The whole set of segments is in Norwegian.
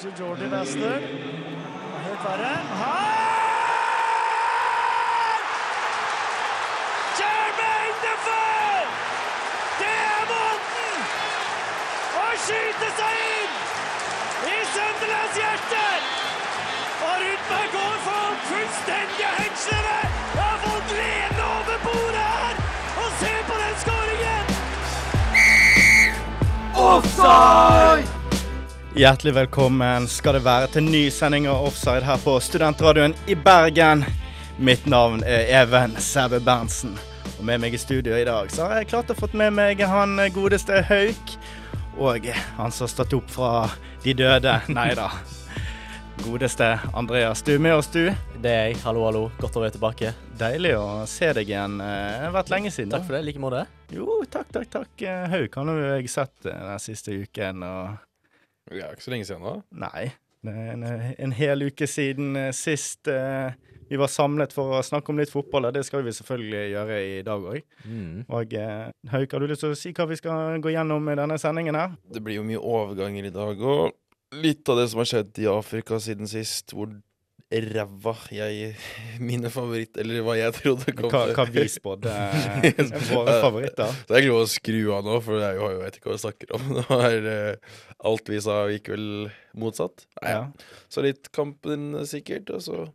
til Jordi Wester. Det er Helt verre. Her! Jermaine Defoe! Det er måten å skyte seg inn i Sunderlands hjerter! Og Rudberg går for fullstendige hengslene! Jeg har fått lene over bordet her! Og se på den skåringen! Hjertelig velkommen skal det være til ny sending av Offside her på Studentradioen i Bergen. Mitt navn er Even Sæbø Berntsen. Og med meg i studio i dag så har jeg klart å fått med meg han godeste Hauk. Og han som har stått opp fra de døde. Nei da. Godeste Andreas. Du er med oss, du. Det er jeg. Hallo, hallo. Godt å være tilbake. Deilig å se deg igjen. Eh, Det har vært lenge siden. Takk for det. I like måte. Jo, takk, takk, takk. eh, Hauk han har jo jeg sett eh, den siste uken. og... Det er ikke så lenge siden da. Nei. Det er en, eh, en hel uke siden eh, sist eh, vi var samlet for å snakke om litt fotball, og det skal vi selvfølgelig gjøre i dag òg. Og eh, Hauk, har du lyst til å si hva vi skal gå gjennom i denne sendingen her? Det blir jo mye overganger i dag, og litt av det som har skjedd i Afrika siden sist, hvor ræva jeg Mine favoritt... Eller hva jeg trodde kom Hva, hva vi spådde eh, våre favoritter? Så jeg lov å skru av nå, for jeg har jo vet ikke hva jeg snakker om. Nå er, eh, alt vi sa, gikk vel motsatt. Nei, Ja. Så litt kampen sikkert, og så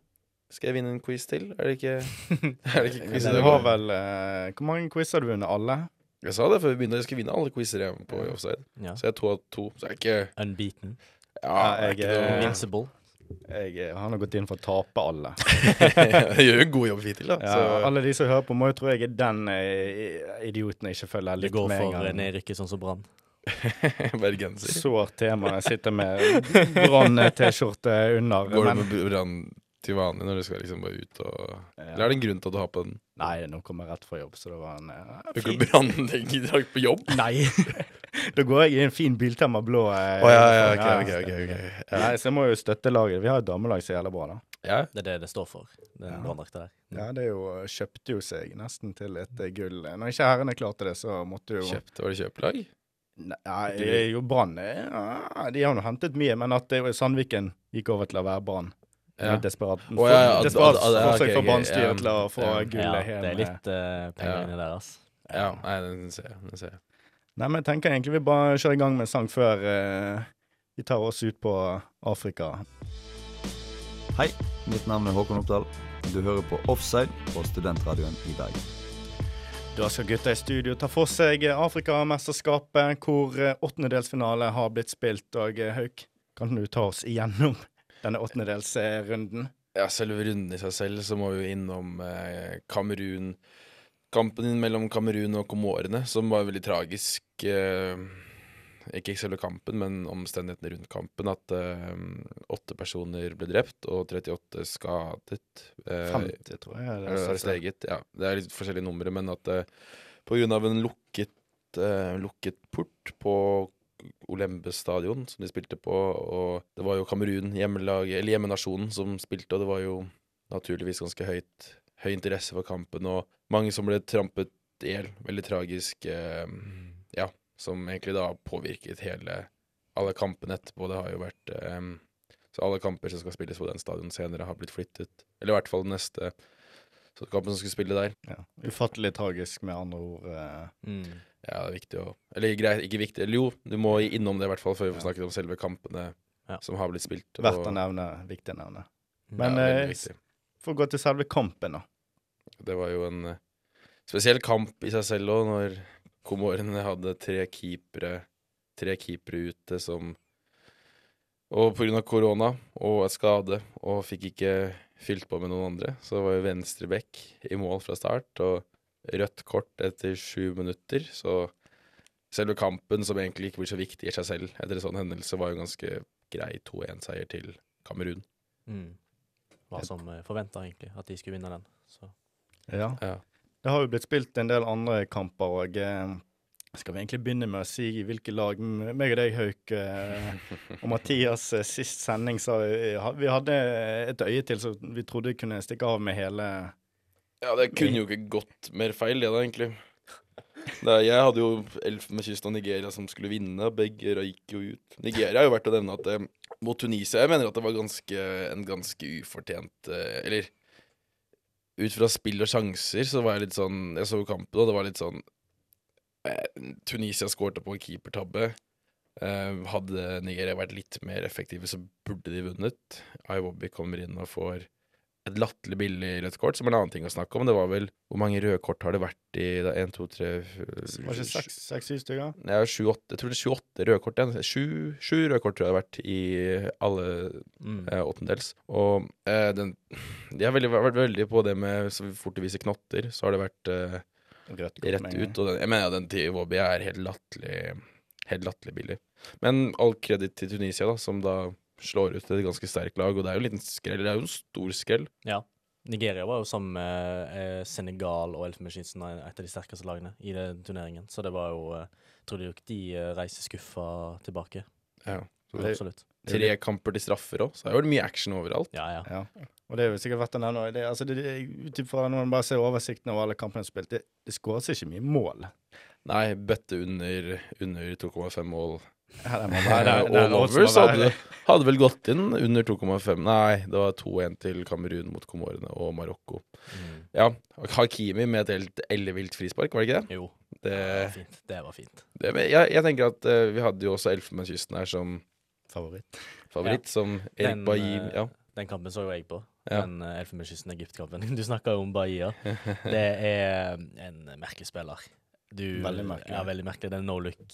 skal jeg vinne en quiz til. Er det ikke, er det ikke quiz i Du dag? har vel eh, Hvor mange quiz har du vunnet? Alle? Jeg sa det før vi begynte, jeg skulle vinne alle quizer jeg er med på i offside. Ja. Så jeg er to av to. Så jeg er ikke Unbeaten. Ja, Ja, jeg jeg er ikke noe Invincible. Jeg, eh, han har gått inn for å tape alle. jeg gjør jo en god jobb hittil, da. Ja, så, alle de som hører på, må jo tro jeg er den eh, idioten jeg ikke følger Det litt går med en for eh, gang. nedrykket sånn som Brann. bergenser. Sårt tema. Jeg sitter med brann-T-skjorte under. Går men- du med brann til vanlig når du skal liksom bare ut og Eller Ja. er det en grunn til at du har på den? eh, Nei, nå kom jeg rett fra jobb, så det var en eh, Du fin kan branndegge i dag på jobb? Nei! da går jeg i en fin Biltema blå. eh, Å ja, ja, ok, ja. ok, ok, ok. Ja. Mm. Nei, så jeg må jo støtte laget. Vi har et damelag som er jævlig bra, da. Ja. Det er det det står for. Den Ja. branndrakta der. Ja, det er jo, eh, kjøpte jo seg nesten til et eh, gull. Når ikke herrene klarte det, så måtte jo Kjøpt, var det kjøpelag? Nei, eh, jo Brann eh, ja, De har nå hentet mye, men at eh, Sandviken gikk over til å være Brann. Ja. Ja. Desperat Å, ja, ja, at- desperat at- at- ja, forsøk ok, fra ok, ja, Brann-styret til å få ja. gullet ja, hjem. det er eh. litt eh, penger Ja. inni der, ass. Ja, nei, den ser jeg. Den ser jeg. Nei, men jeg tenker egentlig vi bare kjører i gang med en sang før eh, vi tar oss ut på Afrika. Hei, mitt navn er Håkon Oppdal. Du hører på Offside på Studentradioen i Bergen. Da skal gutta i studio ta for seg Afrikamesterskapet, hvor eh, åttendedelsfinale har blitt spilt. Og eh, Hauk, kan du ta oss igjennom denne åttendedelsrunden? ja, selve runden i seg selv, så må vi jo innom eh, Kamerun. Kampen mellom Kamerun og Komorene, som var veldig tragisk. Eh, ikke selve kampen, men omstendighetene rundt kampen. At eh, åtte personer ble drept og 38 skadet. Eh, 50, tror jeg. er det er steget, ja. Det er litt forskjellige numre, men at eh, på grunn av en lukket, eh, lukket port på Olembe stadion, som de spilte på, og det var jo Kamerun, hjemmelaget, eller hjemmenasjonen, som spilte, og det var jo naturligvis ganske høyt, høy interesse for kampen, og mange som ble trampet i hjel. Veldig tragisk, eh, ja, som egentlig da påvirket hele, alle kampene etterpå. Det har jo vært eh, Så alle kamper som skal spilles på den stadion senere, har blitt flyttet, eller i hvert fall den neste. Så kampen som skulle spille der Ja. Ufattelig tragisk, med andre ord. eh. Mm. Ja, det er viktig å Eller greit, ikke viktig Eller jo, du må innom det i hvert fall Før vi Ja. får snakket om selve kampene Ja. Som har blitt spilt Verdt å nevne. Viktig å nevne. Men Men ja, eh, veldig viktig. for å gå til selve kampen, da. Det var jo en eh, spesiell kamp i seg selv òg, når komorene hadde tre keepere Tre keepere ute som Og pga. korona og et skade, og fikk ikke fylt på med noen andre, så var jo venstreback i mål fra start, og rødt kort etter sju minutter, så selve kampen, som egentlig ikke blir så viktig i seg selv etter en sånn hendelse, var jo en ganske grei 2-1-seier til Kamerun. Mm. Hva som forventa, egentlig. At de skulle vinne den. Så. Ja. Ja. Det har jo blitt spilt en del andre kamper, og eh, skal vi egentlig begynne med å si hvilke lag m- meg og deg, Hauk, eh, og Mathias eh, sist sending sa vi, ha- vi hadde eh, et øye til som vi trodde kunne stikke av med hele Ja, det kunne jo ikke gått mer feil, det da, egentlig. Det, er- jeg hadde jo Elfenbenskysten og Nigeria som skulle vinne. Begge ra- gikk jo ut. Nigeria har jo vært å nevne at eh, mot Tunisia. Jeg mener at det var ganske, en ganske ufortjent eh, Eller ut fra spill og sjanser, så var jeg litt sånn Jeg så kampen, og det var litt sånn eh, Tunisia skårte på en keepertabbe. Eh, hadde Nigeria vært litt mer effektive, så burde de vunnet. Iwobi kommer inn og får et latterlig billig rødt kort, som er en annen ting å snakke om. Det var vel Hvor mange røde kort har det vært i da? Én, to, tre Var det ikke seks-syv stykker? det er 28, jeg tror det er 28 røde kort igjen. Sju, sju røde kort tror jeg det har vært i alle Mm. eh, åttendels. Og eh, den, de har veldig, vært veldig på det med så fort de viser knotter, så har det vært eh, Rødt kort rett med en gang. ut. Og den, jeg mener den til Iwobi er helt latterlig helt latterlig billig. Men all kreditt til Tunisia, da, som da slår ut et ganske sterkt lag. Og det er jo en liten skrell, det er jo en stor skrell. Nigeria var jo sammen med eh, Senegal og Elfenbenskytsen et av de sterkeste lagene i den turneringen, så det var jo eh, Tror du ikke de eh, reiser skuffa tilbake? Ja. Absolutt. Tre kamper til straffer òg, så det er jo mye action overalt. Ja, ja. Ja. Og det er jo sikkert verdt å nevne. Det, altså, det, det, ut ifra når man bare ser oversikten over alle kampene som er spilt, det, det skåres ikke mye mål. Nei, bøtte under, under 2,5 mål Ja, det må Nei, være- nei, det er all oddsen må over så være- Eh, hadde, hadde vel gått inn under 2,5. Nei, det var 2-1 til Kamerun mot Komorene og Marokko. Mm. Ja, Hakimi med et helt ellevilt frispark, var det ikke det? Jo, det, det var fint. Det var fint. det men jeg, jeg tenker at eh, vi hadde jo også Elfenbenskysten her som favoritt. favoritt, som Erik Den, Bailly eh, Ja. Den kampen så jo jeg på. Ja. Den eh, Elfenbenskysten-Egypt-kampen. Du snakka jo om Bahia. Det er eh, en merkelig spiller. Du, Veldig merkelig. Ja, veldig merkelig. Den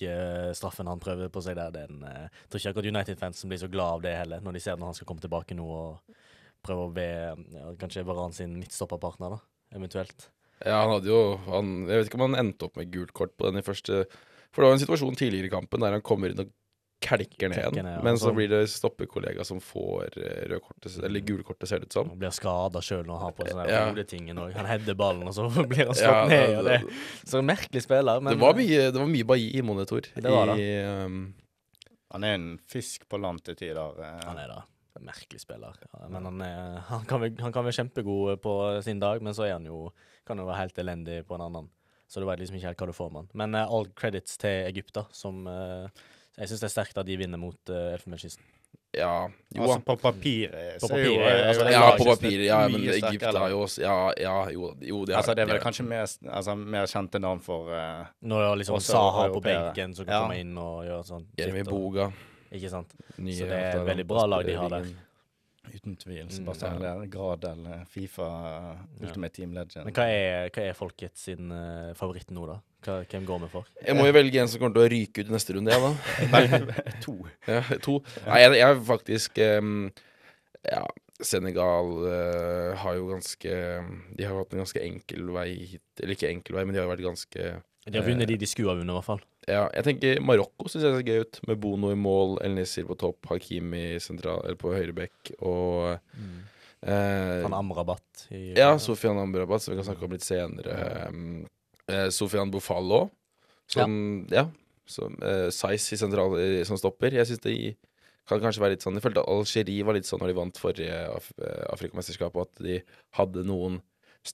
no-look-straffen han prøver på seg der, den eh, tror ikke akkurat United-fansen blir så glad av det heller, når de ser når han skal komme tilbake nå og prøve å be ja, kanskje Varan sin midtstopperpartner, da, eventuelt. ja, han hadde jo han, Jeg vet ikke om han endte opp med gult kort på den i første For det var en situasjon tidligere i kampen der han kommer inn og kelker ned Kelker en, ned, ja. men så Sånn. blir det stoppekollega som får eh, rød kortet, eller gule kortet, ser det ut som. Han blir skada sjøl når han har på seg Ja. den tingen òg. Han header ballen, og så blir han Ja, slått det- ned. Og det. Så en merkelig spiller. Men det, var mye, det var mye Bailly i monitor. Det var det. I, ehm, Han er en fisk på land til tider. eh. Han er da en merkelig spiller. Ja, men han, er, han, kan vel, han kan være kjempegod eh, på sin dag, men så er han jo, kan jo være helt elendig på en annen. Så du vet liksom ikke helt hva du får med han. Men eh, all credits til Egypt, da, som eh, Jeg syns det er sterkt at de vinner mot uh, Elfenbenskysten. ja, jo da. altså, på papiret På så er jo, papiret, eh, altså, det er ja, jo på ikke papiret. Ja, mye men sterkere Egypt har lag. jo også Ja, ja jo, jo det har Altså, det er vel de har- kanskje mer, altså, mer kjente navn for eh, Når det er liksom Også Saha på europeere. benken som kan Ja. komme inn og gjøre sånn. Jeremy shit, og- Boga. Ikke sant? nye Så det er avtaler, veldig bra lag de har der. Ringen. Uten tvil. ja. Sebastian Lerner, Gradel, eh, Fifa, eh, Mm, Ja. Ultimate Team Legend. Men hva er, hva er folket sin eh, favoritt nå, da? Hva, hvem går vi for? Jeg må jo velge en som kommer til å ryke ut i neste runde, jeg, da. to. Ja, to. Nei, jeg, jeg er faktisk ehm, Ja, Senegal eh, har jo ganske De har jo hatt en ganske enkel vei hit. Eller ikke enkel vei, men de har jo vært ganske De Eh, har vunnet de de skulle ha vunnet, i hvert fall. Ja, jeg tenker Marokko syns jeg ser gøy ut, med Bono i mål, El Nisir på topp, Hakimi sentral, eller på høyrebekk og eh, Han Amrabat. I, mm. Ja, Sofian Amrabat, som vi kan snakke om litt senere. Um, eh, Sofian Bofallo, som Ja. som, eh, Saiz i sentral eh, som stopper. Jeg syns det kan kanskje være litt sånn Jeg følte at Algerie var litt sånn når de vant forrige Af eh, Afrikamesterskap, at de hadde noen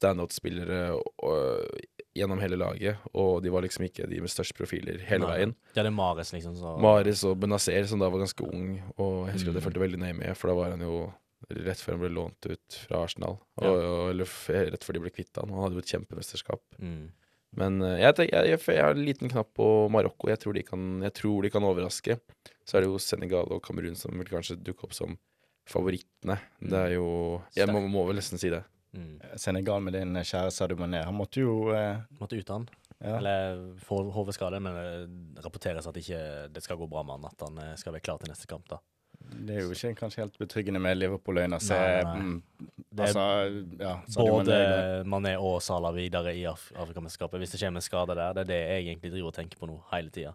standout-spillere og- gjennom hele laget, og de var liksom ikke de med størst profiler hele Nei. veien. Ja, det er Mares, liksom. Så. Maris og Benazer, som da var ganske ung, og jeg husker at jeg fulgte veldig nøye med, for da var han jo rett før han ble lånt ut fra Arsenal, og, Ja. og, eller f- rett før de ble kvitt han. Han hadde jo et kjempemesterskap. Mm. Men eh, jeg, tenker, jeg, jeg, jeg har en liten knapp på Marokko. Jeg tror, de kan, jeg tror de kan overraske. Så er det jo Senegal og Kamerun som vil kanskje dukke opp som favorittene. Det er jo Jeg må, må vel nesten si det. Mm. Senegal med din eh, kjære Sadio Mané. Han måtte jo eh, Måtte ut han. ja. Eller får hodeskade, men det rapporteres at ikke det skal gå bra med han. At han eh, skal være klar til neste kamp, da. Det er jo ikke kanskje helt betryggende med Liverpool øyne å se Nei, nei. mm, Det er altså, ja, Sadio Både Mané. Mané og Salah videre i Af Afrikamesterskapet. Hvis det kommer en skade der, det er det jeg egentlig driver og tenker på nå hele tida.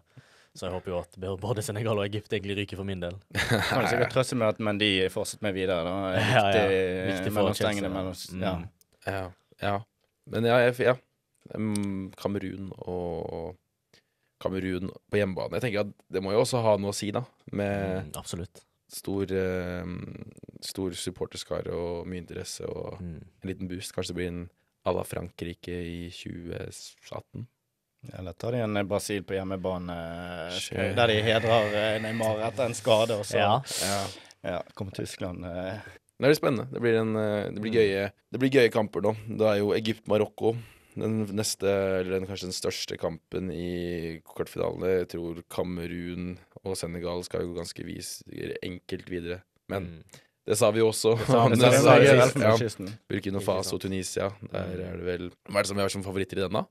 Så jeg håper jo at både Senegal og Egypt egentlig ryker for min del. eh, Kan jo sikkert trøste med at Mendy fortsetter med videre. Da. Er Ja, ja. Viktig, Viktig for mellom Chelsea, stengene. da. Mellom, Mm. ja. Ja. ja. Men ja, jeg, ja. Mm, Kamerun og Kamerun på hjemmebane. Jeg tenker at Det må jo også ha noe å si, da. Med Mm, absolutt. stor, eh, stor supporterskare og mye interesse og Mm. en liten boost. Kanskje det blir en à la Frankrike i 2018. Eller tar de en Brasil på hjemmebane Skje. eh, der de hedrer eh, Neymar etter en skade, og så Ja. Ja. Ja, kommer Tyskland eh, Det blir spennende. Det blir, en, eh, det blir, gøye, det blir gøye kamper nå. Det er jo Egypt-Marokko. Den neste, eller den, kanskje den største kampen i kvartfinalene. Jeg tror Kamerun og Senegal skal jo ganske vis, enkelt videre. Men Mm. det sa vi jo også. sammen- Ja, sammen- sa vi sammen- ja. sammen- Ja. kysten. Burkina Ikke Faso sant. Mm. og Tunisia. Der er det vel Hva er det som vi har som favoritter i den, da?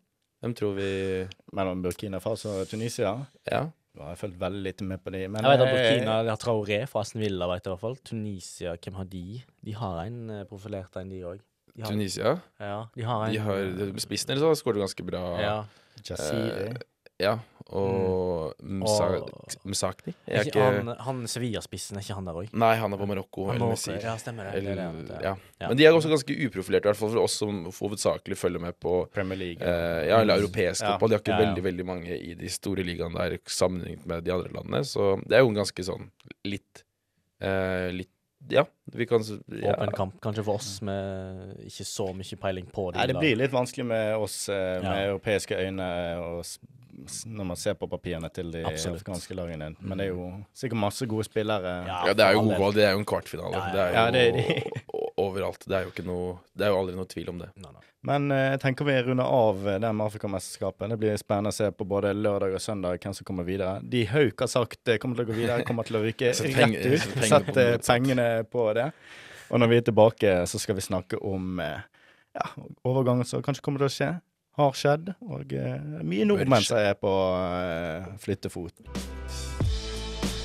Hvem tror vi Mellom Burkina Faso og Tunisia. Ja. Nå har jeg fulgt veldig lite med på de. Men eh, Jeg vet at Burkina de har Traoré fra Aston Villa, vet jeg i hvert fall. Tunisia, hvem har de? De har en eh, profilert en, de òg. De, har- Tunisia. ja, de har en De har spissen deres har skåret ganske bra. ja. eh, Jaziri. Ja, Og Msa- Mm. Og- Msakni. Er Jeg ikke er ikke han, han Sevilla-spissen, er ikke han der òg? Nei, han er på Marokko. eller Nasir. Ja, stemmer det. det, er det han Eller, heter. ja. Ja. Men de er også ganske uprofilerte, i hvert fall for oss som hovedsakelig følger med på Premier League. eh, ja, eller europeisk Ja. fotball. De har ikke Ja, ja. veldig veldig mange i de store ligaene der sammenlignet med de andre landene. Så det er jo en ganske sånn litt eh, Litt Ja, vi kan s- ja. Åpen kamp, kanskje for oss med ikke så mye peiling på de Nei, det lagene. blir litt vanskelig med oss eh, med Ja. europeiske øyne og s s- når man ser på papirene til de Absolutt. afghanske lagene. Men det er jo sikkert masse gode spillere. Ja, det er jo for all gode del. valg. Det er jo en kvartfinale. Ja, ja. Det er jo Ja, det er de. o- overalt. Det er jo ikke noe Det er jo aldri noe tvil om det. Nei, nei. Men eh, jeg tenker vi runder av eh, det med Afrikamesterskapet. Det blir spennende å se på både lørdag og søndag hvem som kommer videre. De Hauk har sagt eh, kommer til å gå videre, kommer til å ryke Sett rett penger- ut. sett penger Sett på eh, det, sant. pengene på det. Og når vi er tilbake, så skal vi snakke om eh, ja, overgangen som kanskje kommer til å skje. Har skjedd. Og eh, mye nordmenn som er på eh, flyttefot.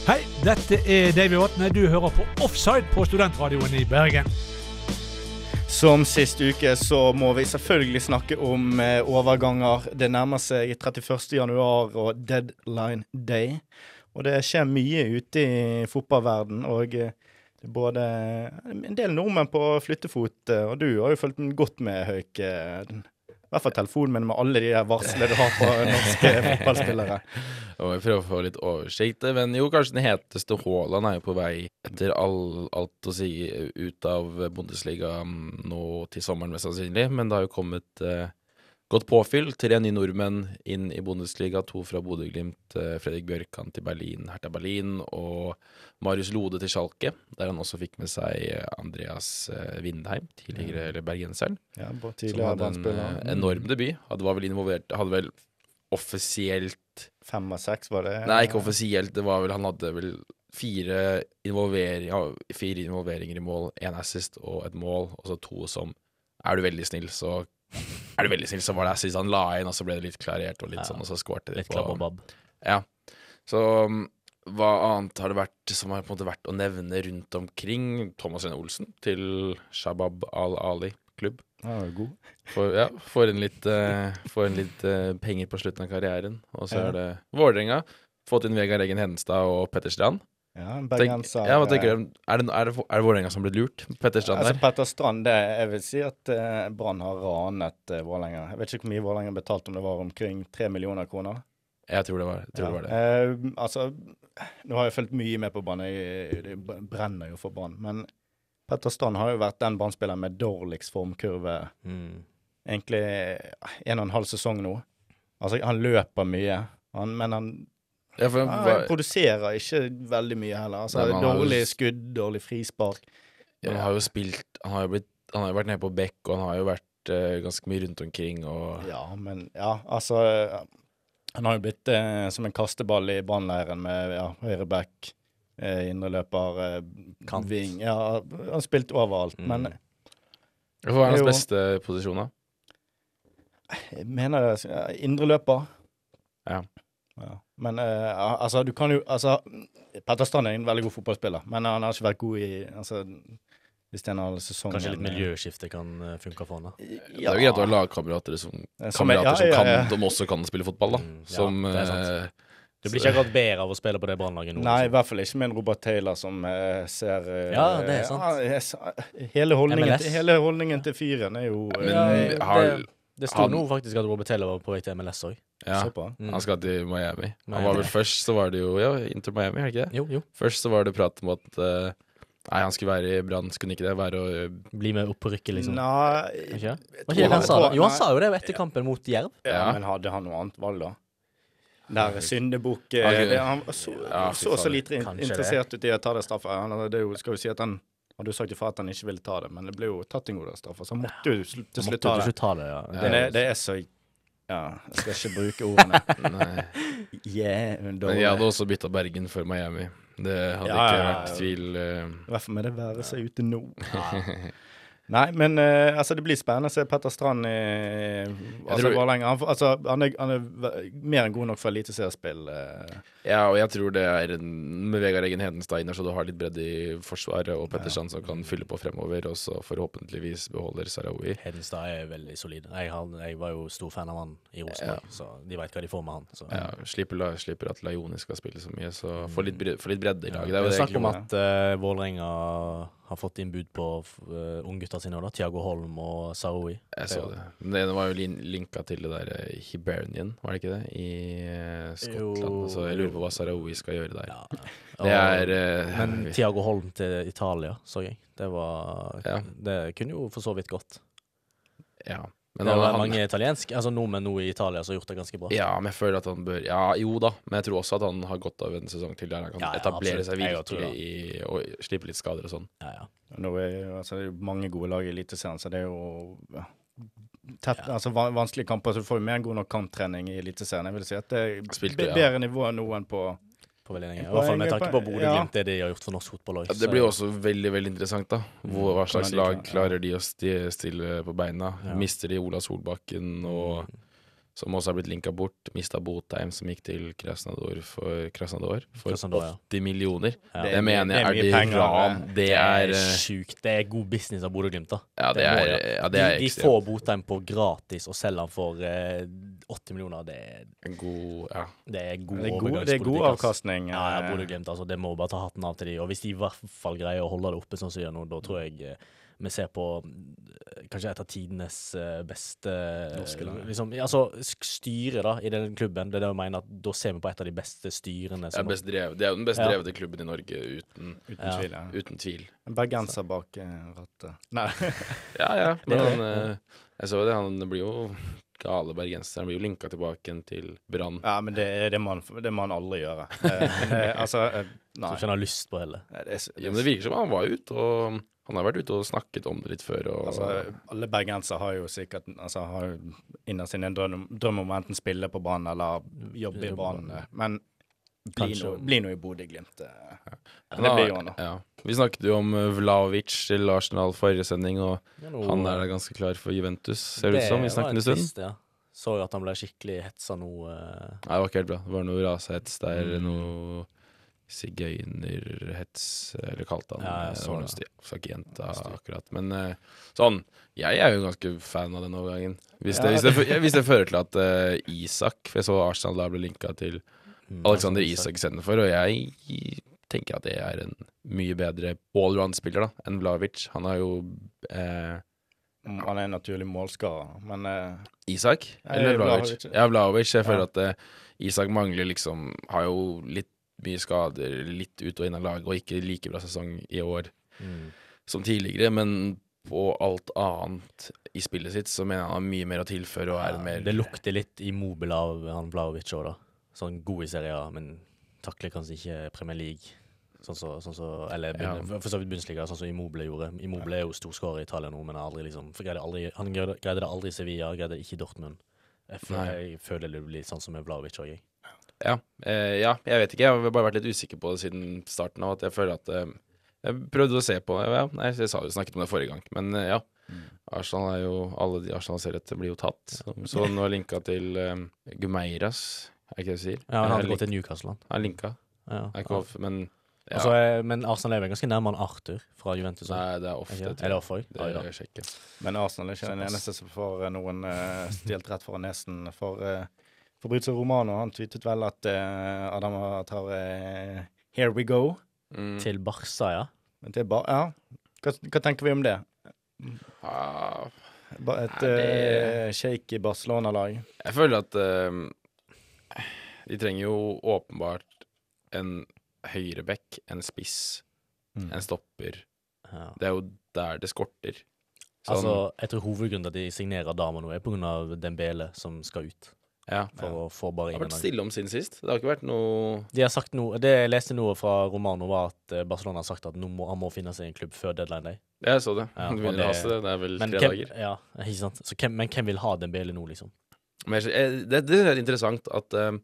Hei, dette er Davy Vatne. Du hører på Offside på Studentradioen i Bergen. Som sist uke så må vi selvfølgelig snakke om eh, overganger. Det nærmer seg 31. januar og deadline day. Og det skjer mye ute i fotballverden, og eh, det er både eh, en del nordmenn på flyttefot, eh, og du har jo fulgt den godt med, Hauk. eh, den- I hvert fall telefonen min med alle de her varslene du har på norske fotballspillere. Og jeg prøver å få litt oversikt, eh, men jo, kanskje den heteste Haaland er jo på vei etter all, alt å si ut av Bundesliga mm, nå til sommeren, mest sannsynlig. Men det har jo kommet eh, godt påfyll. Tre nye nordmenn inn i Bundesliga. To fra Bodø-Glimt. Eh, Fredrik Bjørkan til Berlin, Hertha Berlin. Og Marius Lode til Schalke, der han også fikk med seg eh, Andreas eh, Vindheim, tidligere eller bergenseren. Ja, både Som tidligere hadde en Brann-spiller. eh, enorm debut. Hadde, var vel involvert, hadde vel offisielt Fem og seks, var det? Nei, ikke offisielt. Det var vel, han hadde vel fire, involvering, ja, fire involveringer i mål, én assist og et mål, og så to som Er du veldig snill, så Er du veldig snill, så var det assist. Han la inn, og så ble det litt klarert, og litt Ja. sånn, og så skårte de Litt klabb og på babb. Ja. Så um, hva annet har det vært som har på en måte vært å nevne rundt omkring? Thomas Rene Olsen til Shabab Al-Ali-klubb. Ja, det var god. Får, ja, får en litt, eh, får en litt eh, penger på slutten av karrieren. Og så Ja. er det Vålerenga. Fått inn Vegard Eggen Henstad og Petter Strand. Ja, en Tenk- bergenser. ja, hva eh, tenker du? Er det, er det, er det Vålerenga som ble lurt? Petter Strand Altså, der? Petter Strand, det, jeg vil si at eh, Brann har ranet eh, Vålerenga. Jeg vet ikke hvor mye Vålerenga betalte, om det var omkring tre millioner kroner. altså- Jeg tror det var, jeg tror det, var det. Eh, altså, nå har jeg fulgt mye med på Brann. Jeg, det brenner jo for Brann. Men Petter Strand har jo vært den Brann-spilleren med dårligst formkurve Mm. egentlig eh, en og en halv sesong nå. Altså, han løper mye. Han, men han, Ja, for, han hva- produserer ikke veldig mye heller. Altså, Nei, men han har jo- dårlig skudd, dårlig frispark. han har jo spilt Han har jo, blitt, han har jo vært nede på bekk, og han har jo vært eh, ganske mye rundt omkring, og Ja, men Ja, altså eh, Han har jo blitt eh, som en kasteball i brannleiren med ja, høyre back, eh, indreløper, eh, Kant. ving Ja, han har spilt overalt. Mm. Men Hva er hans Jo. beste posisjon, da? jeg eh, mener det ja, Indreløper. Ja. ja. Men eh, al- altså, du kan jo Altså, Petter Strand er en veldig god fotballspiller, men han har ikke vært god i Altså, hvis det er en halv Sånn sesong Kanskje litt igjen, eh, miljøskifte kan eh, funke for han da. Det er jo greit å ha lagkamerater som, Som er- ja, kamerater som ja, kan, ja. som også kan spille fotball, da. Mm, ja, Som det er sant. eh, Du blir ikke akkurat bedre av å spille på det brannlaget nå. Nei, i liksom. hvert fall ikke med en Robert Taylor som eh, ser eh, Ja, det er sant. ja, jeg sa- hele, holdningen, MLS. til- hele holdningen til fyren er jo eh, Men Ja, har det- Det sto han- nå faktisk at Robert Taylor var på vei til MLS Mm. òg. ja. så på han. Han skal til Miami. Han Miami. var vel først, så var det jo Ja, Inter Miami, er det ikke det? Jo, jo. Først så var det prat om at eh, Nei, han skulle være i Brann, skulle han ikke det? Være og Bli med opp på rykket, liksom. Nei Ikke? Var tror ikke det han han- sa? da? Jo, han Nei. sa jo det etter kampen mot Jerv. ja, Ja. Men hadde han noe annet valg, da? Der syndebukk eh, Ja, ok. det- Han var så Ja, fy så, så fader. lite in- Kanskje det. interessert ut i å ta det straffa. Han det er jo, skal jo si at han hadde jo sagt ifra at han ikke ville ta det, men det ble jo tatt en god del straffer, så han måtte jo sl- til slutt ta det. ta det, ja. Men det, det er så Ja, jeg skal ikke bruke ordene. Nei. Yeah, Men dårlig. jeg hadde også bytta Bergen for Miami. Det hadde Ja, ja, ikke ja. vært tvil. eh. I hvert fall med det været som er ute nå. Nei, men eh, altså, det blir spennende å se Petter Strand i altså, tror- Vålerenga. Han, får- altså, han, er, han er ve- mer enn god nok for eliteseriespill. eh. Ja, og jeg tror det er en, med Vegard Eggen Hedenstad inne, så du har litt bredde i forsvaret, og Petterstrand som kan fylle på fremover, og så forhåpentligvis beholder Sarawi. Hedenstad er veldig solid. Jeg, har, jeg var jo stor fan av han i Rosenborg, så de veit hva de får med han. Så. Ja, Mm. slipper, la, slipper at Laioni skal spille så mye, så få litt, bre- få litt bredde i Det laget. Det er jo det snakk om egentlig- at uh, Vålerenga har fått inn bud på uh, unggutta sine òg, da. Tiago Holm og Saroui. Jeg så det. Men det ene var jo lin linka til det der eh, Hibernian, var det ikke det? I eh, Skottland. Jo. Så jeg lurer på hva Sarawi skal gjøre der. Ja. Det er eh, Men Tiago Holm til Italia, så jeg. Det var Ja. Det kunne jo for så vidt gått. Ja. Men det var mange italiensk, altså nordmenn nå i Italia som har gjort det ganske bra. Ja, men jeg føler at han bør Ja, jo da, men jeg tror også at han har godt av en sesong til der han kan Ja, ja, etablere absolutt. seg Jeg tror virkelig i, og slippe litt skader og sånn. Ja, ja. Nå er, jo- altså, det er jo mange gode lag i Eliteserien, så det er jo ja, tett, altså, van- vanskelige kamper. Så du får jo mer enn god nok kamptrening i Eliteserien. Jeg vil si at det er Spilte, be- ja. bedre nivå enn noen på På veldig lenge. I Poeng, hvert fall med tanke på poeng, Bodø-Glimt, det de har gjort for norsk fotball òg. Ja, det blir jo også veldig veldig interessant, da. Hvor, hva slags Hvordan de lag klarer- klarer de å sti, stille på beina? Ja. Mister de Ola Solbakken, Mm, og, som også har blitt linka bort? Mista Botheim, som gikk til Krasnador for, Krasnador for Krasnodar, ja. 80 millioner. Ja. Det, Det er mye- mener det er jeg er, mye det penger, ran. Det er eh, sjukt. Det er god business av Bodø-Glimt, da. Ja, det må er, de ha. ja, det er de, de ekstremt. får Botheim på gratis og selger han for eh, 80 millioner. Det, er- En god Ja. det er god Det er god, det er god overgangspolitikk, ass. avkastning. Ja, ja eh, Bodø-Glimt, altså. Det må bare ta hatten av til de. Og hvis de i hvert fall greier å holde det oppe sånn som de gjør nå, da tror jeg eh, vi ser på eh, kanskje et av tidenes eh, beste eh, Norske lag. liksom, ja, altså, sk- styre da, i den klubben. Det er det jeg mener, at da ser vi på et av de beste styrene. Det er, Som, best drev, det er jo den best Ja. drevne klubben i Norge, uten, Uten Ja. tvil. Ja. uten tvil. En bergenser bak eh, rattet. Nei. Ja, ja. Men Det er han, eh, jeg så det, han blir jo gale bergenser. Han blir jo linka tilbake igjen til Brann. ja, men det, er- det må han- det må han aldri gjøre. Eh, men, eh, altså eh, Nei. som ikke han har lyst på heller. Nei, Det er, s- Ja, men det virker som han var ute, og han har vært ute og snakket om det litt før. Og, Altså, alle bergensere har jo sikkert altså, har jo innerst inne en drøm, drøm om å enten spille på Brann eller jobbe i Jobbe på Brann. Brann. Men bli Kanskje. nå, bli nå i Bodø-Glimt. eh. Men Det han- blir jo han, da. Ja. Vi snakket jo om eh, Vlaovic til Arsenal forrige sending, og Ja, Oh. nå- han er da ganske klar for Juventus, ser det ut som. Vi var snakket en stund. trist, ja. Så jo at han ble skikkelig hetsa nå. eh, Nei, det var ikke helt bra. Det var noe rasehets der, Mm. noe sigøynerhets, eller kalte han Ja, jeg eh, så det. var det. noe sti- Jeg skal ikke gjenta akkurat. Men eh, sånn, jeg er jo ganske fan av den overgangen. Hvis det, hvis det, fø- hvis det fører til at eh, Isak For jeg så Arsenal da ble linka til mm, Alexander altså, Isak istedenfor, og jeg tenker at det er en mye bedre allround-spiller da enn Vlavic. Han har jo eh, Om Mm, Han er en naturlig målskårer, men eh, Isak? Nei, Eller Vlahovic. Vlahovic? Ja, Vlahovic. Jeg Ja. føler at eh, Isak mangler liksom Har jo litt mye skader, litt ut og inn av laget, og ikke like bra sesong i år Mm. som tidligere. Men på alt annet i spillet sitt så mener jeg han har mye mer å tilføre og er en mer Det lukter litt immobil av han Vlaovic òg, da. Sånn god i serien, men takler kanskje ikke Premier League. Sånn som sånn så, Eller bunn- for så vidt Bundesliga, sånn som Immobile gjorde. Immobile er jo storskårer i Italia nå, men har aldri liksom for greide aldri, Han greide, greide det aldri i Sevilla, greide det ikke i Dortmund. Jeg føler, Nei. jeg føler det blir sånn som med Vlaovic òg, jeg. Ja, eh, ja, jeg vet ikke. Jeg har bare vært litt usikker på det siden starten av at jeg føler at eh, Jeg prøvde å se på det. Ja, nei, jeg sa jo snakket om det forrige gang, men eh, ja. Mm. Arsenal er jo Alle de Arsenal ser etter, blir jo tatt. Så, så nå er linka til eh, Gumeiras, er det ikke det du sier? Ja, han Eh, hadde link- gått til Newcastle, han. Han linka. Ja. Er ikke off, men ja. Altså, eh, men Arsenal er vel ganske nærme han Arthur fra Juventus. også. Nei, det er Er ofte. ikke det? tror Er det jeg. off òg? Det er sjekke. Men Arsenal er ikke den Såpass. eneste som får eh, noen eh, stjålet rett foran nesen for eh, forbrytelser Romano. Han tweetet vel at eh, Adam tar eh, 'Here we go'. Mm. Til Barca, ja. Men det er bare Ja, hva, hva tenker vi om det? Ah, Ba, et Nei, eh, det- shaky Barcelona-lag. jeg føler at eh, de trenger jo åpenbart en høyreback, en spiss, Mm. en stopper. ja. Det er jo der det skorter. Sånn, Altså, jeg tror hovedgrunnen til at de signerer damer nå, er pga. Dembele, som skal ut. Ja. for Det å få bare har inn vært en stille om siden sist. Det har ikke vært noe de har sagt noe, Det jeg leste noe fra Romano, var at eh, Barcelona har sagt at nå må, han må finne seg en klubb før deadline day. Jeg så det. Ja, det begynner og det- å haste. Det Det er vel Men tre hvem, dager. ja, ikke sant? Så hvem, men hvem vil ha Dembele nå, liksom? Men jeg, jeg- det, det er interessant at um,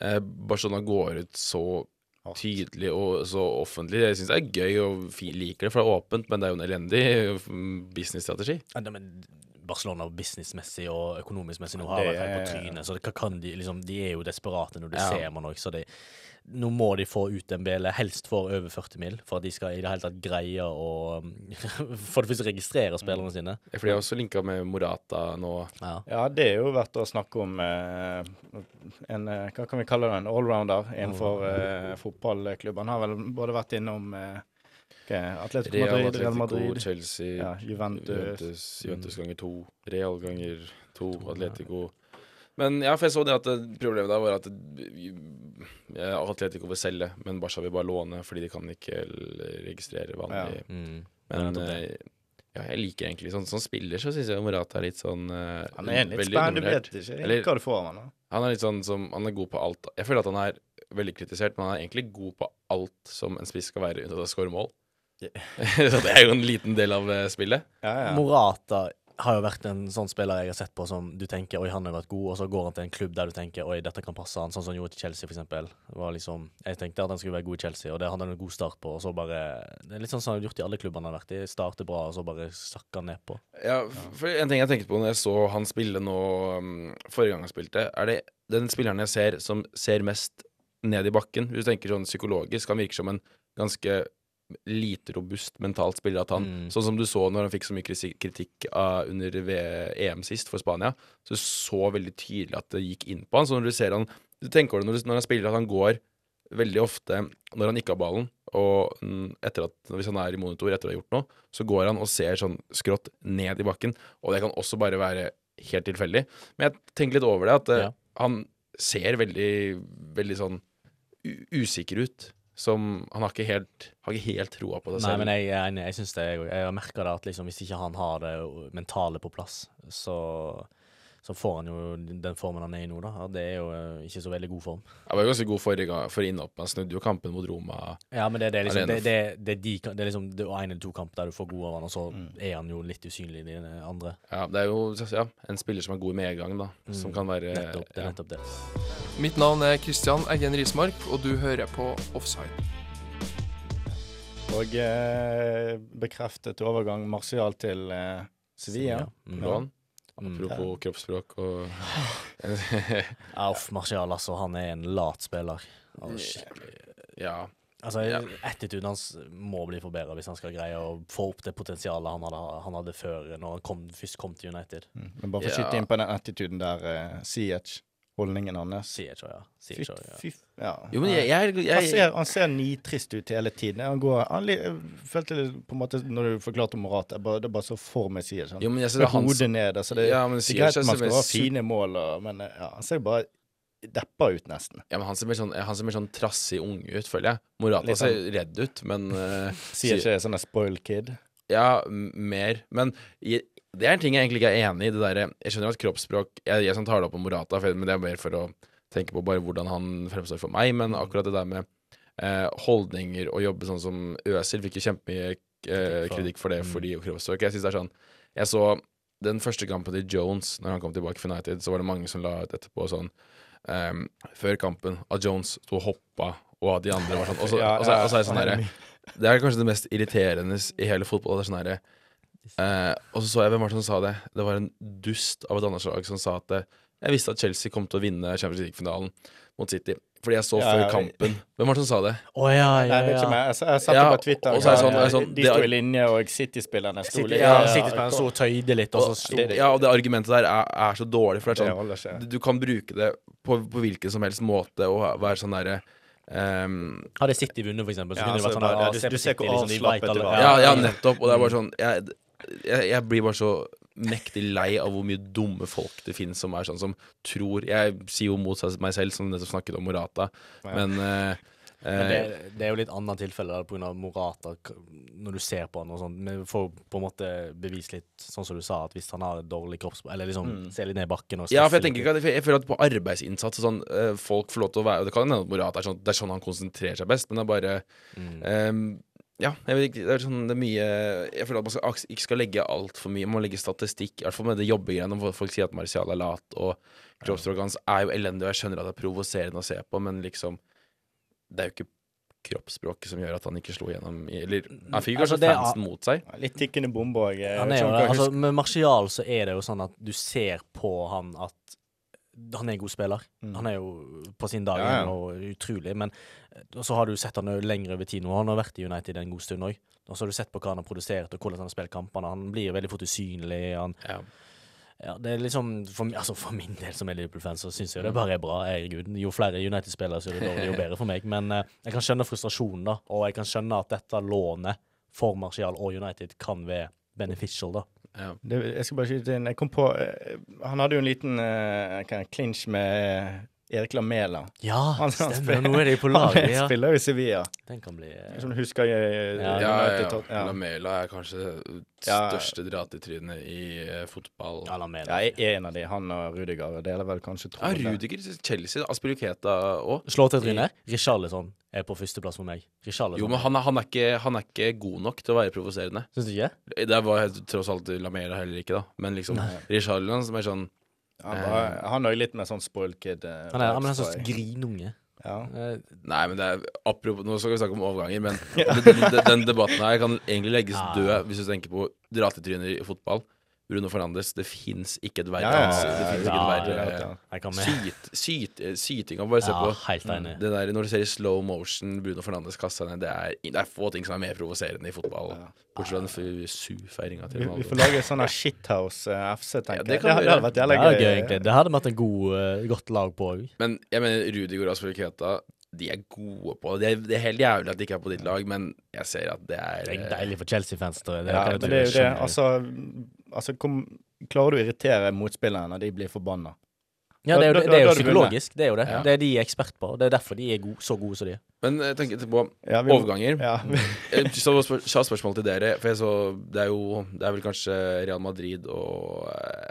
eh, Barcelona går ut så tydelig og så offentlig. Jeg syns det er gøy og fi- liker det, for det er åpent, men det er jo en elendig mm, businessstrategi. Ja, nei, men Barcelona businessmessig og økonomisk-messig nå har Det vært helt på er- trynet. Så det, hva kan de liksom De er jo desperate når du Ja. ser man òg, så de Nå må de få ut en bele, helst for over 40 mil, for at de skal i det hele tatt greie å For det første registrere spillerne sine. For de har også linka med Morata nå. Ja. Ja, det er jo verdt å snakke om eh, en eh, Hva kan vi kalle det? En allrounder innenfor eh, fotballklubben. Han har vel både vært innom eh, hva er det? Atletico Real Madrid, Real Atletico, Madrid, Chelsea, ja, Juventus Juventus, Juventus ganger to. Real ganger to. Atletico. Men ja, for jeg så det at eh, problemet der var at eh, Atletico vil selge, men Barca vil bare låne fordi de kan ikke l- registrere vanlig Mm. Det Men er nettopp eh, ja, jeg liker egentlig sånn som spiller, så syns jeg Morata er litt sånn eh, Han er en litt veldig spennende, du undervurdert. vet ikke Eller- hva du får av han da. Han er litt sånn som Han er god på alt. Jeg føler at han er veldig kritisert, men han er egentlig god på alt som en spiss skal være, unntatt å score mål. Ja. så det er jo en liten del av eh, spillet. Ja, ja. Morata har jo vært en sånn spiller jeg har sett på som du tenker Oi, han har vært god, og så går han til en klubb der du tenker Oi, dette kan passe han, sånn som han gjorde til Chelsea, for eksempel. Det Var liksom, jeg tenkte at han skulle være god i Chelsea, og det hadde han en god start på, og så bare Det er litt sånn som han har gjort i alle klubbene han har vært i. Starter bra, og så bare sakker han nedpå. Ja, f- for En ting jeg tenkte på når jeg så han spille nå um, forrige gang han spilte, er det den spilleren jeg ser som ser mest ned i bakken. Hvis du tenker sånn psykologisk, han virker som en ganske lite robust mentalt spiller. At han, Mm. Sånn som du så når han fikk så mye krisi- kritikk av, under v EM sist for Spania, så du så veldig tydelig at det gikk inn på han. Så når du ser han Du tenker over det når, du, når han spiller, at han går veldig ofte når han ikke har ballen, og mm, etter at, hvis han er i monitor etter å ha gjort noe, så går han og ser sånn skrått ned i bakken. Og det kan også bare være helt tilfeldig. Men jeg tenker litt over det, at eh, Ja. han ser veldig, veldig sånn u- usikker ut. Som Han har ikke helt, har ikke helt troa på seg Nei, selv. men jeg er enig. Jeg syns det, jeg òg. Jeg har merka det at liksom, hvis ikke han har det mentale på plass, så så får han jo den formen han er i nå, da. Og Det er jo eh, ikke så veldig god form. Han var jo ganske god forrige gang for innhopp. Han snudde jo kampen mot Roma. Ja, men det, det er liksom det, Alene. det, det, er de, kan- det er liksom det er en eller to kamper der du får god av han, og så Mm. er han jo litt usynlig i den andre. Ja, det er jo ja, en spiller som er god i medgang, da. Som kan Mm. være Eh, Nettopp, det ja. er nettopp det. Mitt navn er Kristian Eggen Rismark, og du hører på Offside. Og eh, bekreftet overgang Martial til eh, Sevilla. Mm. lån. Mm. Apropos kroppsspråk og Ja, Uff, Martial, altså. Han er en lat spiller. Altså, skikkelig. Ja. altså Attituden hans må bli forbedret hvis han skal greie å få opp det potensialet han hadde, han hadde før, når han kom, først kom til United. Mm. Men bare for å Ja. skyte inn på den attituden der, eh, Ziyech, holdningen hans Sier ikke, ja. Sier ikke, ja. Fy, fy- ja. Jo, men jeg, jeg, jeg, han ser, han ser nitrist ut hele tiden. Han går, han li, jeg følte det på en måte Når du forklarte om Morata, bare- det er bare så for meg sier sånn. Jo, men jeg ser Med det er hans hodet nede. Så det, Ja, men det er Ziyech greit er at man så skal veldig ha su- fine mål, og, men eh, ja, han ser bare deppa ut, nesten. Ja, men han ser mer sånn, han ser mer sånn trassig ung ut, føler jeg. Morata Litt sånn- ser redd ut, men eh, Sier ikke sånn en spoiled kid. Ja, m- mer. Men i- det er en ting jeg egentlig ikke er enig i. Det derre Jeg skjønner at kroppsspråk Jeg, jeg som tar det opp om Morata, for, men det er mer for å tenke på bare hvordan han fremstår for meg. Men akkurat det der med eh, holdninger og jobbe sånn som Øsil fikk jo kjempemye eh, Kritikk for. kritikk for det fordi kroppsspråk. Jeg synes det er sånn Jeg så den første kampen til Jones når han kom tilbake for United, så var det mange som la ut etterpå sånn ehm, Før kampen at Jones sto og hoppa, og at de andre var sånn Og så, Ja, og så, og så er det ja, sånn ja. derre det er kanskje det mest irriterende i hele fotball. Det er sånn herre eh, Og så så jeg hvem var det som sa det. Det var en dust av et annet slag som sa at eh, jeg visste at Chelsea kom til å vinne Champions League-finalen mot City. Fordi jeg så Ja, før ja, vi- kampen. Hvem var det som sa det? Å ja, Nei, ja, jeg vet ikke ja. mer. Jeg, sa- jeg satt Ja, det på Twitter. og så er det sånn- det er ja, sånn- de det er- sto i linje, og City-spillerne sto City, litt- ja, ja, City-spilleren sto og tøyde litt, og så slo det- Altså, Ja, og det argumentet der er, er så dårlig, for det Det er sånn holder ikke. Du, du kan bruke det på, på hvilken som helst måte og være sånn derre ehm, Hadde City vunnet, for eksempel, så Ja, kunne det altså, vært sånn bare- ah, du- se på du ser City, hvor liksom, de vet avslappet det alle- var. Ja, ja, nettopp. Og det er bare sånn jeg, jeg, jeg blir bare så mektig lei av hvor mye dumme folk det finnes som er sånn som tror Jeg sier jo mot seg- meg selv, som nettopp snakket om Morata, men eh, Men Eh, det, det er jo litt annet tilfelle der, på grunn av Morata, k- når du ser på han og sånn. Vi får på en måte bevist litt, sånn som du sa, at hvis han har et dårlig kroppsspråk, eller liksom ser litt ned i bakken og Mm. Ja, for jeg stresser tenker litt. ikke at jeg føler at på arbeidsinnsats og sånn eh, Folk får lov til å være Det kan hende at Morata er sånn Det er sånn han konsentrerer seg best, men det er bare Mm. ehm, Ja, jeg vet ikke Det er sånn det er mye Jeg føler at man skal, aks- ikke skal legge altfor mye. Man må legge statistikk, i hvert fall med det jobbegreiene hvor folk sier at Martial er lat, og kroppsspråket hans er jo elendig, og jeg skjønner at det er provoserende å se på, men liksom Det er jo ikke kroppsspråket som gjør at han ikke slo gjennom i Eller han fikk jo Altså, kanskje det er- fansen mot seg. Litt tikkende bombe eh, òg. Eh, Han er jo det. Altså, med Martial så er det jo sånn at du ser på han at han er en god spiller. Han er jo på sin dag Ja, ja. og utrolig, men eh, og så har du sett han jo lenger over tid nå. Han har vært i United en god stund òg. Og så har du sett på hva han har produsert, og hvordan han har spilt kampene. Han blir veldig fort usynlig. Han, Ja. ja, det er liksom for, mi- altså for min del som er Liverpool-fan, så syns jeg det bare er bra. Herregud. Jo flere United-spillere, så er det dårlig, jo bedre for meg. Men eh, jeg kan skjønne frustrasjonen, da. Og jeg kan skjønne at dette lånet for Martial og United kan være beneficial, da. Det, jeg skal bare skyte inn. Jeg kom på eh, Han hadde jo en liten eh, hva er det, clinch med eh, Erik Lamela. Ja, Han- han stemmer. spiller- Nå er de på Han laget. Ja. spiller jo i Sevilla, Den kan bli eh, som du husker. eh, Ja, Ja, United ja, Tot- ja. Lamela er kanskje det Ja. største dratetrynet i eh, fotball. Ja, la meg Ja, da. jeg er en av de. Han og Rudiger deler vel kanskje Ja, troen. der. Rudiger, Chelsea, Aspiluketa òg. Slå til trynet. Richarlison er på førsteplass for meg. Richarlison. Jo, men han er, han, er ikke, han er ikke god nok til å være provoserende. Syns du ikke? Det var helt- tross alt Lamela heller ikke, da. Men liksom Richarlison som er sånn Han var- Han er jo litt mer sånn spoiled kid. eh, Han er, han er en vibes, sånn tror jeg. grinunge. Ja. Eh, Nei, men det er apropos Nå skal vi snakke om overganger, men den, den, den debatten her kan egentlig legges Ja. død hvis du tenker på dratetryner i fotball. Bruno Fernandes, det fins ikke et verre Ja, ja, ja, ansikt. Det fins ja, ikke ja, et ja. verre Jeg kan med. Syt, syt, sytinga. Bare se Ja, på Mm. helt enig. Det der, når du ser i slow motion Bruno Fernandes kaste ned, det er, det er få ting som er mer provoserende i fotball. Bortsett fra den fu- su-feiringa til Vi, vi får Ronaldo. lage sånn her Shithouse eh, FC, tenker Ja, jeg. det det, kan vi hadde gjøre. vært Det jævlig er gøy, egentlig. Det hadde vært en god, eh, godt lag på òg. Men jeg mener Rudiger og Aspelketa de er gode på det. Det er helt jævlig at de ikke er på ditt lag, men jeg ser at det er Det er eh, deilig for Chelsea-fans. Det, det Ja, kan jeg men det tro. er jo det. Skjønner. Altså, altså kom, klarer du å irritere motspillerne når de blir forbanna? ja, det er jo, da- det, da- det er da jo har du vunnet. psykologisk. Det er jo det. Det er de ekspert på. Det er derfor de er go så gode som de er. Men jeg tenker etterpå Ja, vi må- Overganger. Ja. Jeg så spør, så har spørsmål til dere, for jeg så Det er jo Det er vel kanskje Real Madrid og eh,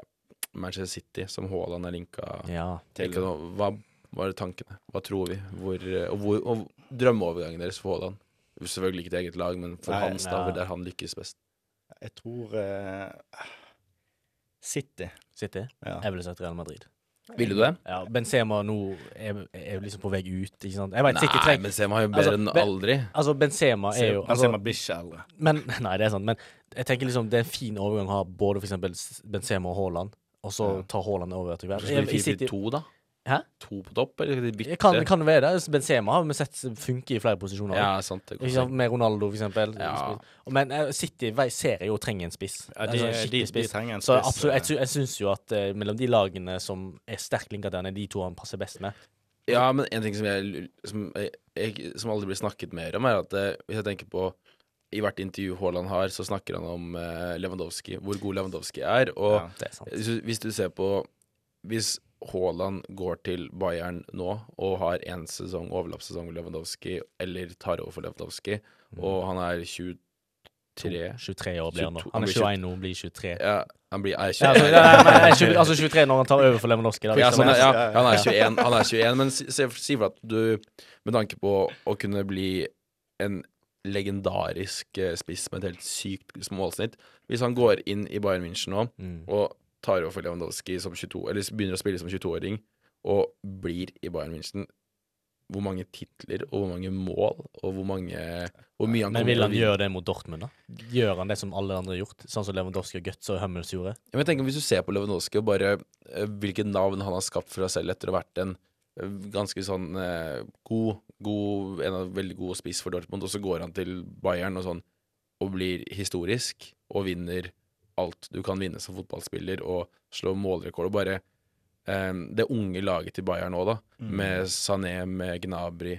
Manchester City som Haaland er linka Ja. Ikke noe, hva var tankene? Hva tror vi? Hvor, eh, og, hvor, og drømmeovergangen deres for Haaland? Selvfølgelig ikke til eget lag, men for Nei, hans, da, ja. hvor der han lykkes best. Jeg tror eh, City. City. Ja. Jeg ville sagt Real Madrid. Ville du det? Ja, Benzema nå er, er jo liksom på vei ut, ikke sant. Jeg veit City Nei, trenger men Sema er jo Altså, bedre enn be- aldri. Altså, Benzema er jo Han altså, ser meg blir ikke eldre. Men, nei, det er sant. Men jeg tenker liksom det er en fin overgang å ha både for eksempel S- Benzema og Haaland, og så tar Haaland over etter hvert. Så skulle I- de i City- fire to, da? Hæ? To på topp, eller skal de bytte? Kan, kan det være det. Benzema har vi sett funke i flere posisjoner. Ja, sant. Det går Ikke sant? Med Ronaldo, for eksempel. Ja. Men eh, City vei- ser jeg jo trenger en spiss. Ja, de- en Altså, sånn de- skikkelig de trenger en Så spiss, absolutt, eh. jeg, sy jeg syns jo at eh, mellom de lagene som er sterkt linka til han, er de to han passer best med. Ja, men en ting som, jeg, som, jeg, som aldri blir snakket mer om, er at eh, hvis jeg tenker på I hvert intervju Haaland har, så snakker han om eh, Lewandowski, hvor god Lewandowski er. Og Ja. Det er sant. hvis, du- hvis du ser på Hvis Haaland går til Bayern nå og har én sesong, overlappssesong med Lewandowski, eller tar over for Lewandowski, Mm. og han er 23 23 år blir han nå. 22 Han er han blir 21 nå, blir 23. Ja, han blir er 21. Ja, altså, nei, nei, nei, nei, tjue- altså 23 når han tar over for Lewandowski. Da, Ja, liksom. sånn, ja, ja, han er 21, han er 21 men si, si- si for at du Med tanke på å kunne bli en legendarisk eh, spiss med et helt sykt målsnitt Hvis han går inn i Bayern München nå Mm. og tar over for Lewandowski som 22 Eller begynner å spille som 22-åring og blir i Bayern München hvor mange titler og hvor mange mål og hvor mange Hvor mye han Men vil han kommer til å vinne. gjøre det mot Dortmund, da? Gjør han det som alle andre har gjort? Sånn som Lewandowski og Guts og Hummels gjorde? Ja, men jeg tenker Hvis du ser på Lewandowski og bare eh, hvilket navn han har skapt for seg selv etter å ha vært en eh, ganske sånn eh, god, god En av veldig god spiss for Dortmund, og så går han til Bayern og sånn og blir historisk og vinner alt du kan vinne som fotballspiller, og slår målrekord og bare Mm. eh, Det unge laget til Bayern nå, da, med Sané, med Gnabry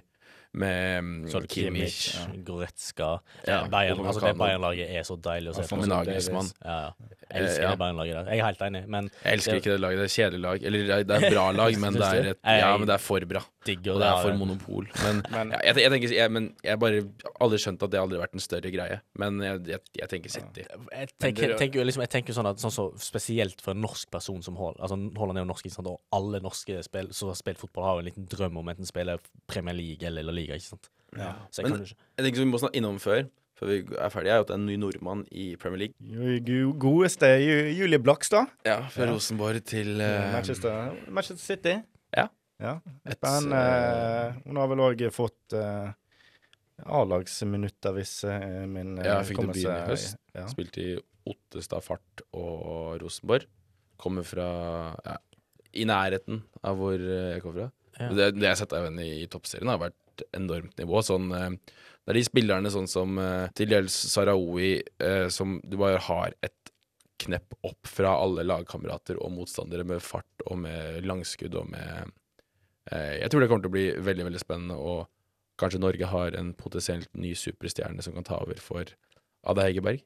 med mm, Så er det Kimmich, Kimmich. Goretzka Ja, Eh, Bayern, Oliver altså Det Kahn. Bayern-laget er så deilig å se på. Alphonso Ja, Davies. ja. Jeg elsker Eh, ja. det Bayern-laget der. Jeg er helt enig, men Jeg elsker Det- ikke det laget. Det er et kjedelig lag. Eller det er- det er et bra lag, men det er, et, Nei, ja, men det er for bra. digger Og det er der. for monopol. Men, Men- ja, jeg, jeg tenker jeg, Men jeg bare har aldri skjønt at det aldri har vært en større greie. Men jeg, jeg, jeg tenker City. eh, jeg tenker, jeg tenker jo liksom, jeg tenker jo sånn at sånn så, Spesielt for en norsk person som Haaland. Altså, Haaland er jo norsk, ikke sant? og alle norske spill, som har spilt fotball, har jo en liten drøm om enten å spille Premier League eller La Liga. ikke sant? Så jeg Men- kan jo ikke Jeg tenker som vi må snakke innom før, før vi er ferdige, er jo at det er en ny nordmann i Premier League. Jo- go- Godeste Ju- Julie Blakstad. Ja, Fra Rosenborg til eh, Manchester, Manchester City. Ja. ja. Et, Spennende. eh, Hun har vel òg fått eh, A-lagsminutter, hvis eh, min eh, Ja, jeg fikk hukommelse- debuten i høst. Ja. Spilte i Ottestad Fart og Rosenborg. Kommer fra ja, i nærheten av hvor eh, jeg kommer fra. Ja. Det, det jeg har sett av henne i toppserien, har vært enormt nivå. Sånn, eh, det er de spillerne sånn som eh, til dels Sarawi, eh, som du bare har et knepp opp fra alle lagkamerater og motstandere med fart og med langskudd og med eh, Jeg tror det kommer til å bli veldig, veldig spennende, og kanskje Norge har en potensielt ny superstjerne som kan ta over for Ada Hegerberg.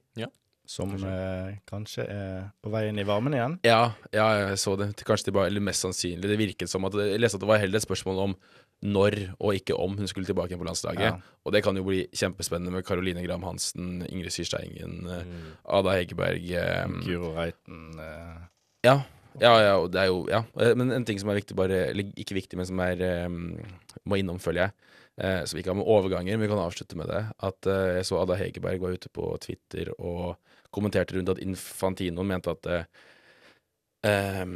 Som eh, kanskje er på vei inn i varmen igjen. Ja, ja, jeg så det. Kanskje tilbake, eller mest sannsynlig. Det virket som at Jeg leste at det var heller et spørsmål om når og ikke om hun skulle tilbake igjen på landslaget. Ja. Og det kan jo bli kjempespennende med Caroline Graham Hansen, Ingrid Syrsteigen, eh, Ada Hegerberg eh, Guro Reiten eh, Ja. Ja, ja, og det er jo Ja. Eh, Men en ting som er viktig, bare Eller ikke viktig, men som er eh, Må innom, føler jeg. Eh, så vi ikke har med overganger, men vi kan avslutte med det. At eh, jeg så Ada Hegerberg var ute på Twitter og kommenterte rundt at Infantino mente at eh, eh,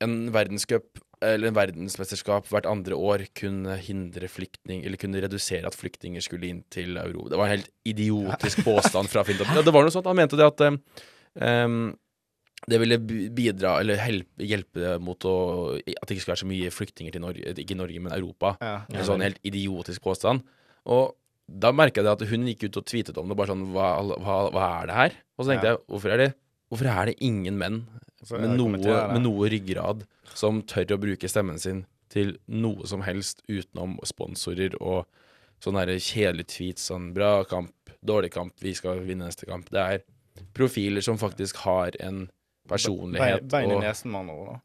en verdenscup eller en verdensmesterskap hvert andre år kunne hindre flyktning, eller kunne redusere at flyktninger skulle inn til Europa. Det var en helt idiotisk påstand fra Fintop. Ja, det var noe sånt. Han mente det at eh, ehm, det ville bi- bidra, eller help- hjelpe mot å, at det ikke skulle være så mye flyktninger til Norge, ikke Norge, men Europa. ja. En sånn helt idiotisk påstand. Og da merka jeg det at hun gikk ut og tweetet om det, bare sånn hva, hva, hva er det her? Og så tenkte Ja. jeg, hvorfor er det, hvorfor er det ingen menn Så med jeg noe, kommenterer det. med noe ryggrad som tør å bruke stemmen sin til noe som helst utenom sponsorer og sånne her kjedelige tweets sånn bra kamp, dårlig kamp, vi skal vinne neste kamp. Det er profiler som faktisk har en Bein, personlighet bein i og- nesen, med andre ord. da.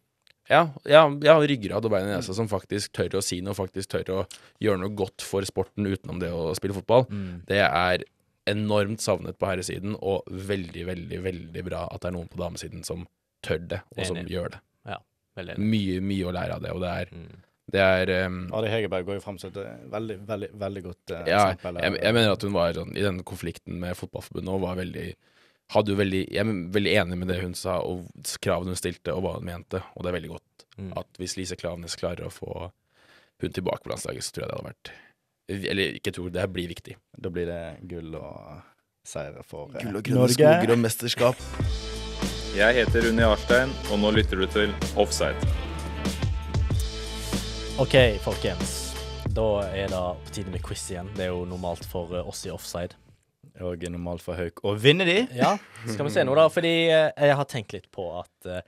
ja, ja, ja, ryggrad og bein i nesa som faktisk tør å si noe, faktisk tør å gjøre noe godt for sporten utenom det å spille fotball. Mm, Det er enormt savnet på herresiden, og veldig, veldig, veldig bra at det er noen på damesiden som tør det, og som Enig. gjør det. veldig enig. Mye, mye å lære av det, og det er, Mm. det er ehm, Adi Hegerberg går jo fram som et eh, veldig, veldig, veldig godt eh, ja, eksempel. jeg, jeg mener at hun var sånn, i den konflikten med Fotballforbundet og var veldig hadde jo veldig, Jeg er veldig enig med det hun sa, og s- kravene hun stilte, og hva hun mente. Og det er veldig godt Mm. at hvis Lise Klaveness klarer å få hun tilbake på landslaget, så tror jeg det hadde vært Eller ikke tror, det her blir viktig. Da blir det gull og seier for eh, og mesterskap. Jeg heter Rune Jarstein, og nå lytter du til Offside. OK, folkens. Da er det på tide med quiz igjen. Det er jo normalt for eh, oss i offside. Og normalt for Hauk. Og vinner de? Ja, skal vi se nå, da. Fordi eh, jeg har tenkt litt på at eh,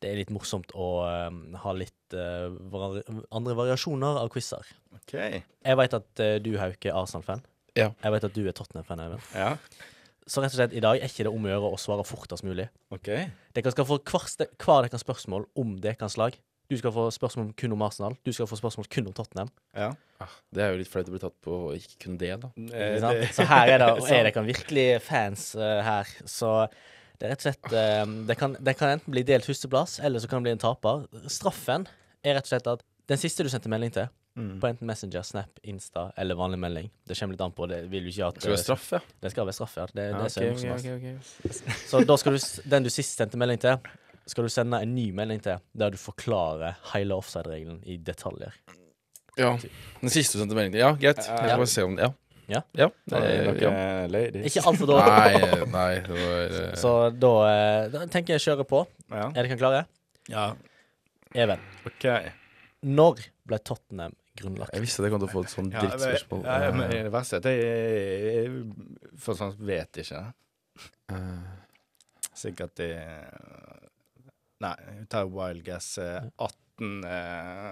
det er litt morsomt å eh, ha litt eh, vari andre variasjoner av quizer. OK. Jeg veit at eh, du, Hauke, er Arsenal-fan. Ja. Jeg veit at du er Tottenham-fan, Eivind. Ja. Så rett og slett, i dag er ikke det om å gjøre å svare fortest mulig. ok. Dere skal få hver, ste- hver deres spørsmål om deres lag. Du skal få spørsmål kun om Arsenal. Du skal få spørsmål kun om Tottenham. Ja. Det er jo litt flaut å bli tatt på ikke kun det, da. Eh, Ikke sant? det- Så her er det og er dere virkelig fans eh, her. Så det er rett og slett eh, det, kan, det kan enten bli delt førsteplass, eller så kan det bli en taper. Straffen er rett og slett at den siste du sendte melding til, Mm. på enten Messenger, Snap, Insta eller vanlig melding Det kommer litt an på. Det vil jo ikke at eh, Skal vi ha straff, ja? Det skal være straff, ja. Det, det er så ok, morsomt, altså. ok, ok, ok. Så da skal du, s- den du sist sendte melding til, skal du sende en ny melding til, der du forklarer hele offside-regelen i detaljer. Ja. Den siste du sendte melding til? Ja, greit. Jeg skal bare se om det. Ja. Ja. ja. Da er eh, det- dere ja. ladies. Ikke altfor dårlig. Nei, eh. nei, det var eh, Så da, eh, da tenker jeg å kjøre på. Ja. Er dere klare? ja. Even, OK. Ja, når ble Tottenham grunnlagt? Jeg visste at jeg kom til å få et sånt drittspørsmål. eh, Ja, ja, men det verste er at jeg, jeg, jeg for sånn vet ikke. Eh, Sikkert i eh, Nei, vi tar wild guess eh, 18 eh,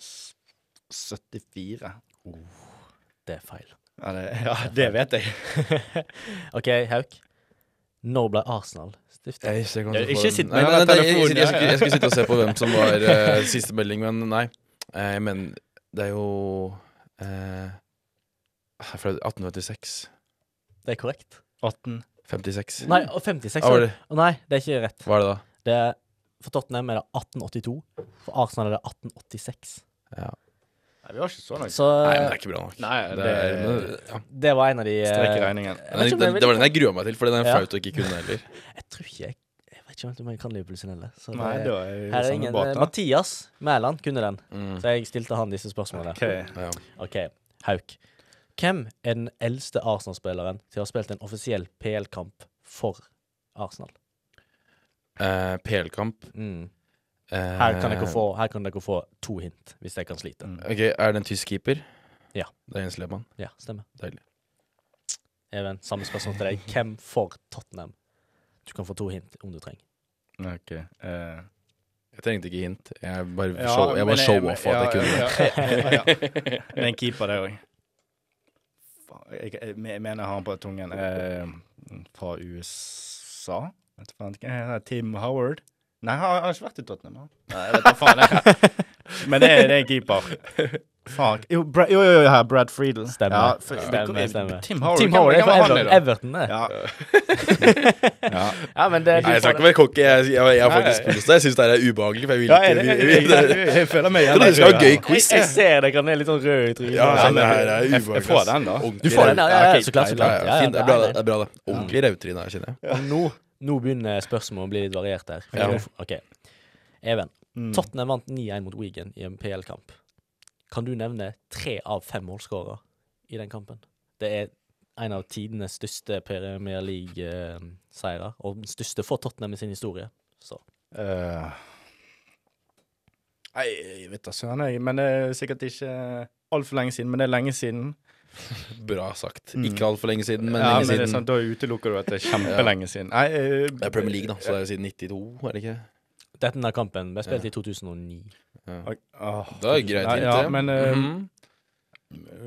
s- 74. Det er feil. Ja, det, ja, det vet jeg. OK, Hauk. Når ble Arsenal stifta? Jeg ser ikke Ja, om du ikke får den. sitt med meg med telefonen, ja, Nei, nei, nei, jeg- jeg- Jeg skulle- ja. jeg skulle sitte og se på hvem som var eh, siste melding, men nei. Eh, men det er jo eh, Fra 1856. Det er korrekt. 18. 56. Nei, og 56 Ja, var år. det, Å, Nei, det er ikke rett. var det da? Det er, for Tottenham er det 1882. For Arsenal er det 1886. Nei, vi var ikke så langt. Så Nei, men det er ikke bra nok. Nei, Det det er, er men, ja. det var en av de eh, Strekk i regningen. jeg vet den, ikke om jeg den, det var vil- den jeg grua meg til, for den er en Ja. flaut å ikke kunne heller. Jeg tror ikke jeg Jeg vet ikke om jeg kan Liverpool sin heller. Så Nei, det, da er vi her i er samme ingen eh, båt. da. Mathias Mæland kunne den, Mm. så jeg stilte han disse spørsmålene. Ok. Ja. OK, Hauk. Hvem er den eldste Arsenal-spilleren til å ha spilt en offisiell PL-kamp for Arsenal? Eh, PL-kamp Mm. eh, Her, kan dere få, her kan dere få to hint, hvis jeg kan slite. Mm. Ok, Er det en tysk keeper? Ja. Det er Jens Lehmann. Ja, stemmer. Deilig. Even, samme spørsmål til deg. Hvem for Tottenham? Du kan få to hint om du trenger. Ok, eh, Jeg trengte ikke hint. Jeg bare ja, show, jeg men bare show off at ja, jeg kunne det. ja, ja, ja. Det er en keeper, det òg. Jeg, jeg me- mener jeg har han på tungen. Eh, fra USA? Vet du faen ikke. Jeg har Tim Howard. Nei, han har- han har ikke vært i Tottenham. han. Nei, jeg vet da faen. Jeg. Men det, er- det er en keeper. Fuck. Jo, Bra, jo, jo, jo, her, Brad Friedel. Stemmer. Ja, for, Stemmer, det- stemmer. Tim Howard, Team hvem- Howard er hvem var fra han i Everton. da? Everton det. Ja. ja. Ja, men det sånn- Nei, jeg skal ikke være cocky. Jeg, jeg, jeg har faktisk Nei. lyst til det. Jeg syns det her er ubehagelig. For jeg vil Ja, jeg, ikke jeg, jeg, jeg, jeg føler meg Jeg trodde det skulle være en gøy quiz. Jeg ser deg, han er litt sånn rød i trynet. Ja, Ja, men- det her er jeg- jeg ubehagelig. får ass. den da. Ordentlig Du får den, ja, rev- ja, ja, ok, så klart, så nei, klart. nei, Ja, ja, fint, det er det bra, er det. det er bra, det. Ordentlig revtryne her, kjenner jeg. Og nå, nå begynner spørsmålet å bli litt variert her. Ja. OK. Even, Mm. Tottenham vant 9-1 mot Wigan i en PL-kamp. Kan du nevne tre av fem målskårere i den kampen? Det er en av tidenes største Premier League-seirer, og den største for Tottenham i sin historie. Så Eh, Nei, jeg vet da søren, jeg. Men det er sikkert ikke altfor lenge siden. Men det er lenge siden. Bra sagt. Mm. Ikke altfor lenge siden, men ja, men lenge Det er siden. sant, da utelukker du at det er kjempelenge siden. Nei, eh, Det er Premier League, da, så det er jo siden 92, er det ikke? denne kampen ble spilt i 2009. Åh, Det er greit Nei, hint, ja, det. men, eh, Mhm.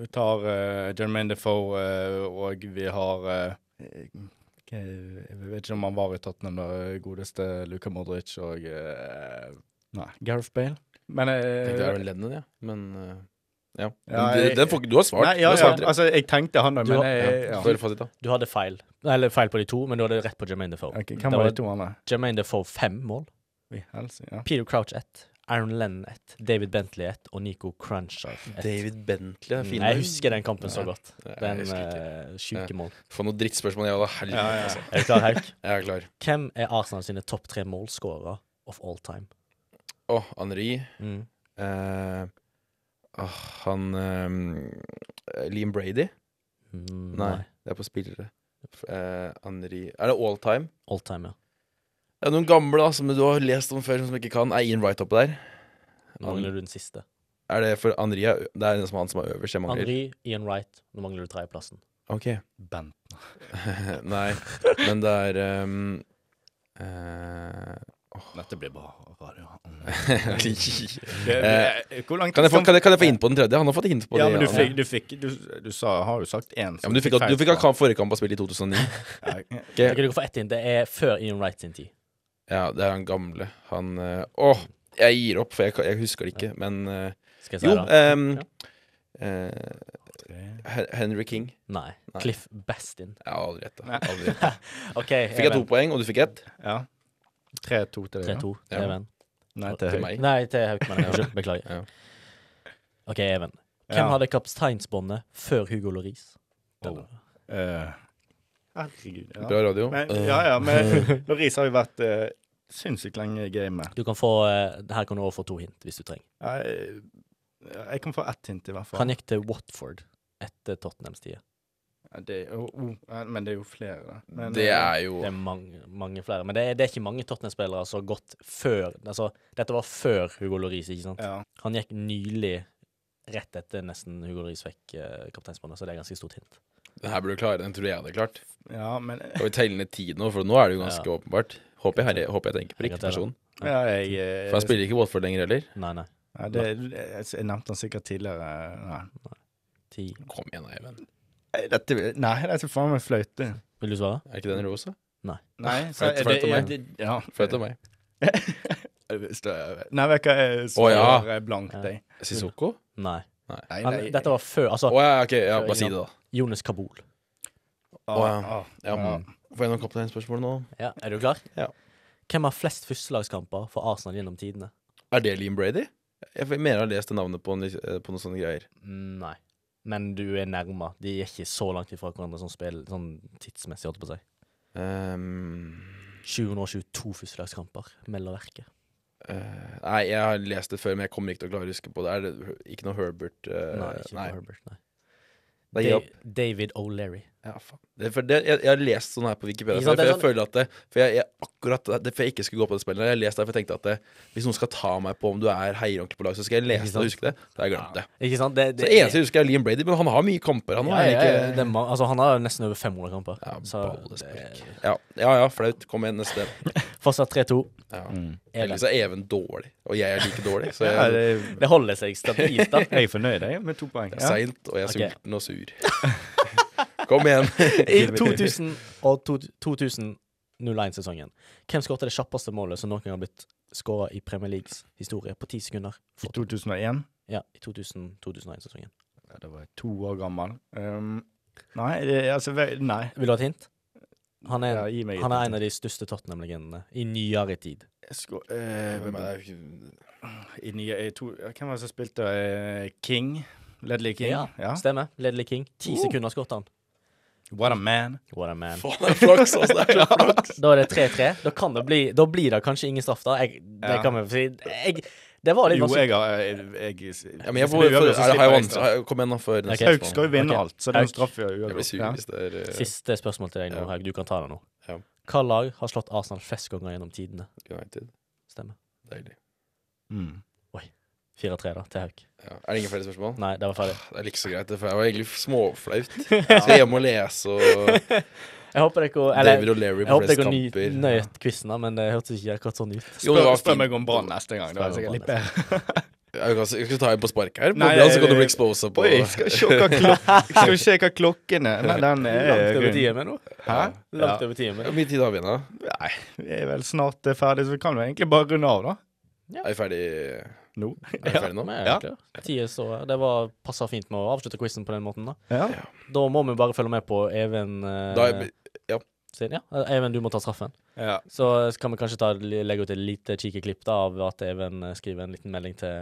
vi tar uh, Jermaine Defoe, eh, og vi har eh, ok, Jeg vet ikke om han var i Tottenham, da. Godeste Luka Modric og eh, Nei, Gareth Bale. Men Jeg eh, tenkte Aaron Lennon, ja. Men eh, ja. Ja, Men det- jeg- den får ikke- Du har svart. Nei, ja, du har ja, svart rett. altså, jeg tenkte han da, Du men har- jeg, eh, ja. ja. Så er det fasit, da. Du hadde feil. Eller feil på de to, men du hadde rett på Jermaine Defoe. Ok, hvem Det var var- de to andre? Jermaine Defoe fem mål. I helse, ja. Peter Crouch ett. Aaron Lennon ett. David Bentley ett. Og Nico Cruncher ett. David Bentley er fin. Mm. Jeg husker den kampen så Ja. godt. Nei, jeg Den husker ikke. uh, sjuke Ja. mål. Få noe drittspørsmål, jeg, da. Helvete, Ja, ja. altså. Er du klar, Hauk? Jeg er klar. Hvem er Arsenal sine topp tre målskårere of all time? Mm. Å, Henri. Eh, åh, han eh, Liam Brady? Mm, Nei. Det er på spillere. F- Eh, Henri Er det all time? All time, ja. Det er noen gamle da, som du har lest om før, som du ikke kan. Er Ian Wright oppe der? Nå mangler du den siste. Er det for Henri er, ø- Det er den som han som er øverst. Jeg mangler. Henry, Ian Wright. Nå mangler du tredjeplassen. Ok. Bent. Nei, men det er ehm, eh, Dette blir bra radio. Eh, Hvor langt kan, jeg få, kan, jeg, kan jeg få hint på den tredje? Han har fått hint på Ja, det. men du ja. fikk Du, fikk, du, du sa, har jo sagt én. Ja, men du fikk, at- du fikk at han forrige kamp var spilt i 2009. Ja, Jeg kan ikke få ett inn. Det er før Ian Wright sin tid. Ja, det er han gamle. Han eh, Åh, jeg gir opp, for jeg, kan- jeg husker det ikke. Men eh, Skal jeg si jo det? ehm, Ja. eh, Hen- Henry King. Nei. Nei. Cliff Bastin. Jeg har aldri gjetta. Nei. Aldri gjetta. OK. Fikk jeg to poeng, og du fikk ett? ja. 3-2 til deg. 3-2 til Ja. Even. nå. Nei, Til til meg. meg. Nei, til Haukmann. Unnskyld. Beklager. Ja. OK, Even. Hvem Ja. hadde kapteinsbåndet før Hugo Loris? Oh. Eh, herregud. Ja. Bra Eh. radio. Men, ja, ja, men Loris har jo vært uh, sinnssykt lenge i gamet. Du kan få, eh, her kan du også få to hint, hvis du trenger. Jeg, jeg kan få ett hint, i hvert fall. Han gikk til Watford etter Tottenhams tid. Ja, det, oh, oh, ja, men det er jo flere, da. Men, Det eh, er jo Det er mange, mange flere. Men det er, det er ikke mange Tottenham-spillere som har gått før altså, Dette var før Hugo Loris, ikke sant? ja. Han gikk nylig rett etter nesten Hugo Loris fikk uh, kapteinsbåndet, så det er ganske stort hint. Den her burde du klare. Den tror jeg jeg hadde klart. ja, men eh, Skal vi telle ned tid nå, for nå er det jo ganske Ja. åpenbart. Håper jeg, her, håper jeg tenker på Jeg riktig gratulerer. person. ja, jeg, eh, For han spiller ikke Watford lenger heller. Nei, nei. Ja, det, jeg, jeg nevnte han sikkert tidligere. Nei. Ti. Kom igjen, da, Even. Nei, Dette, vil- nei, dette er faen meg fløyte. Vil du svare? Er ikke den rosa? Nei, så Fløyte- er fløyte det, er meg. det ja. Fløyt av meg. Nei, vet du hva jeg Å, ja. svarer blankt, jeg. Sissoko? Nei. Nei, Men, nei. dette var før. Altså, Å ja, ok. Ja, bare si det, da. Jonas Kabul. Å, ja. å, Ja, ja. Får jeg noen kapteinspørsmål nå? Ja, Er du klar? Ja. Hvem har flest førstelagskamper for Arsenal gjennom tidene? Er det Liam Brady? Jeg mener jeg har lest det navnet på, en, lis- eh, på noen sånne greier. Nei. Men du er nærma. De er ikke så langt ifra hverandre sånn, spill, sånn tidsmessig, holdt jeg på å si. Ehm, 722 førstelagskamper, melder verket. eh, nei, jeg har lest det før, men jeg kommer ikke til å klare å huske på det. Er det ikke noe Herbert eh, Nei, ikke nei. på Herbert. Nei. Da gir jeg opp. Da- David O'Leary. Ja, faen. Det, er for det, jeg, jeg har lest sånn her på Wikipedia. Ikke For, sant, det er jeg føler at det, for jeg, jeg akkurat det, for jeg ikke skulle gå på det spillet, jeg har lest det, for jeg tenkte at det, hvis noen skal ta meg på om du er heier ordentlig på lag, så skal jeg Ikke lese det sant? og huske det. Da har jeg glemt det. Ikke sant? Det, Så det eneste jeg husker, er Liam Brady, men han har mye kamper. Han ja, har ja, ja, ikke det er ma- altså, Han har nesten over 500 kamper. ja, så ballespark. det- Ja, ja, ja, flaut. Kom igjen, neste. Fortsatt 3-2. Ja. Even. Ellers er Even dårlig, og jeg er like dårlig. Så Ja, jeg, det det, Mm. Det holder seg stabilt, da. jeg er fornøyd jeg, med to poeng. er Ja. seint, og jeg er Ok. sulten og sur. Kom igjen. I 2000 og 2001-sesongen. Hvem skåret det kjappeste målet som noen gang har blitt skåra i Premier Leagues historie på ti sekunder? I 2001. Ja, i 2000-2001-sesongen. Ja, da var jeg to år gammel. Um, nei, det, altså ve- Nei. Vil du ha et hint? Han er, Ja, gi meg et han er hint. en av de største Tottenham-legendene i nyere tid. eh, I nye, i to, ja, hvem var det som spilte eh, King? Ledley King? Ja. Stemmer. Ledley King. Ti sekunder skåret han. What a man. What a man. Faen, det er flaks, altså. Det er så flaks. Da er det 3-3. Da, kan det bli, da blir det kanskje ingen straff, da. Jeg, det Ja. kan vi si. Jeg, det var litt Jo, vanskelig. jeg har eh, jeg, jeg, Ja, men jeg hvis får, det blir uavgjort, så for, er, har jeg slipper jeg vanskelig? straff. har- Kom igjen, nå, før neste Haug spørsmål. skal jo vinne Ok. alt, så det er Haug. en straff jeg Jeg blir sur Ja. hvis det er eh, Siste spørsmål til deg nå, Ja. Haug. Du kan ta det nå. Ja. Hva lag har slått Arsenal flest ganger gjennom tidene? United. Stemmer. Deilig. Mm. 4-3 da, til Haug. Ja. Er det ingen flere spørsmål? Nei, det var ferdig. Det er like så greit, det, for jeg var egentlig småflaut. Skal hjem og lese og Jeg håper dere eller, David og Larry jeg på håper flest dere kamper. ny- nøt quizen, da, men det hørtes ikke akkurat sånn ut. Jo, det var Spør, spør fint. meg om Brann neste gang. Det var Spør om sikkert litt Brann bedre. Jeg kan- jeg skal ta en på sparket her. På Nei, Brann så kan du bli jeg- exposa på Oi, skal vi se hva, klok skal vi se hva klokken er. Nei, den er rund. med nå. Hæ? Langt over timen. Hvor mye tid har vi igjen, da? Nei, vi er vel snart eh, ferdig, så vi kan jo egentlig bare runde av, da. Er vi ferdig, Nå. er vi ferdig nå? Ja. Tida så Det var passa fint med å avslutte quizen på den måten, da. Ja. Da må vi bare følge med på Even eh, Da er, sin. Ja, Even, du må ta straffen. Ja. Så kan vi kanskje ta, legge ut et lite kikkeklipp da, av at Even eh, skriver en liten melding til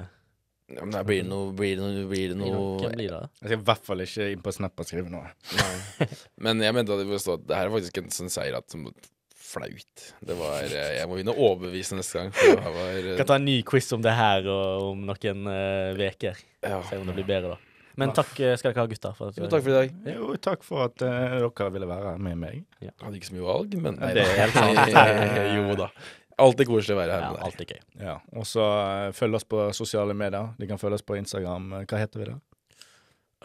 ja, men da blir det noe, blir det noe, blir det noe Hvem blir det? Jeg skal i hvert fall ikke inn på Snap og skrive noe. Men jeg mente at det, stå, at det her er faktisk en sånn seier at som- flaut. Det var eh, Jeg må begynne å overbevise neste gang. For det her var, eh, Kan ta en ny quiz om det her og om noen uker. eh, ja. Se om det blir bedre, da. Men takk eh, skal dere ha, gutter. For at, Jo, takk for i dag. Jo, takk for at eh, dere ville være her med meg. Jeg hadde ikke så mye valg, men Ja, det er helt sant. jo da. Alltid koselig å være her ja, med deg. alltid gøy. Ja. Og så eh, følg oss på sosiale medier. De kan følge oss på Instagram. Eh, Hva heter vi da?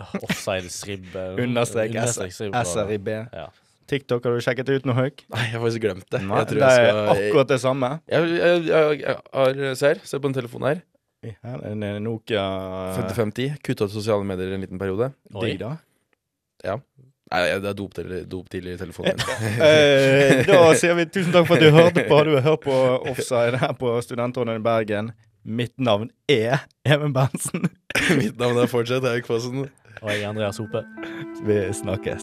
Offside-sribb. Understrek S- SRIB. Ja. TikTok har du sjekket ut noe, Hauk? Nei, jeg har faktisk glemt det. Nei, Jeg tror det jeg er skal jeg, akkurat det samme. jeg, jeg, jeg har Se her. Se på den telefonen her. I her er En en Nokia 5510. Kutta ut sosiale medier en liten periode. Digg, da. Nei, det er dop til, dop til i telefonen min. Eh, da sier vi tusen takk for at du hørte på. Du har hørt på Offside her på Studentrådet i Bergen. Mitt navn er Even Berntsen. Mitt navn er fortsatt Erik Fossen. Og jeg er Andreas Hope. Vi snakkes.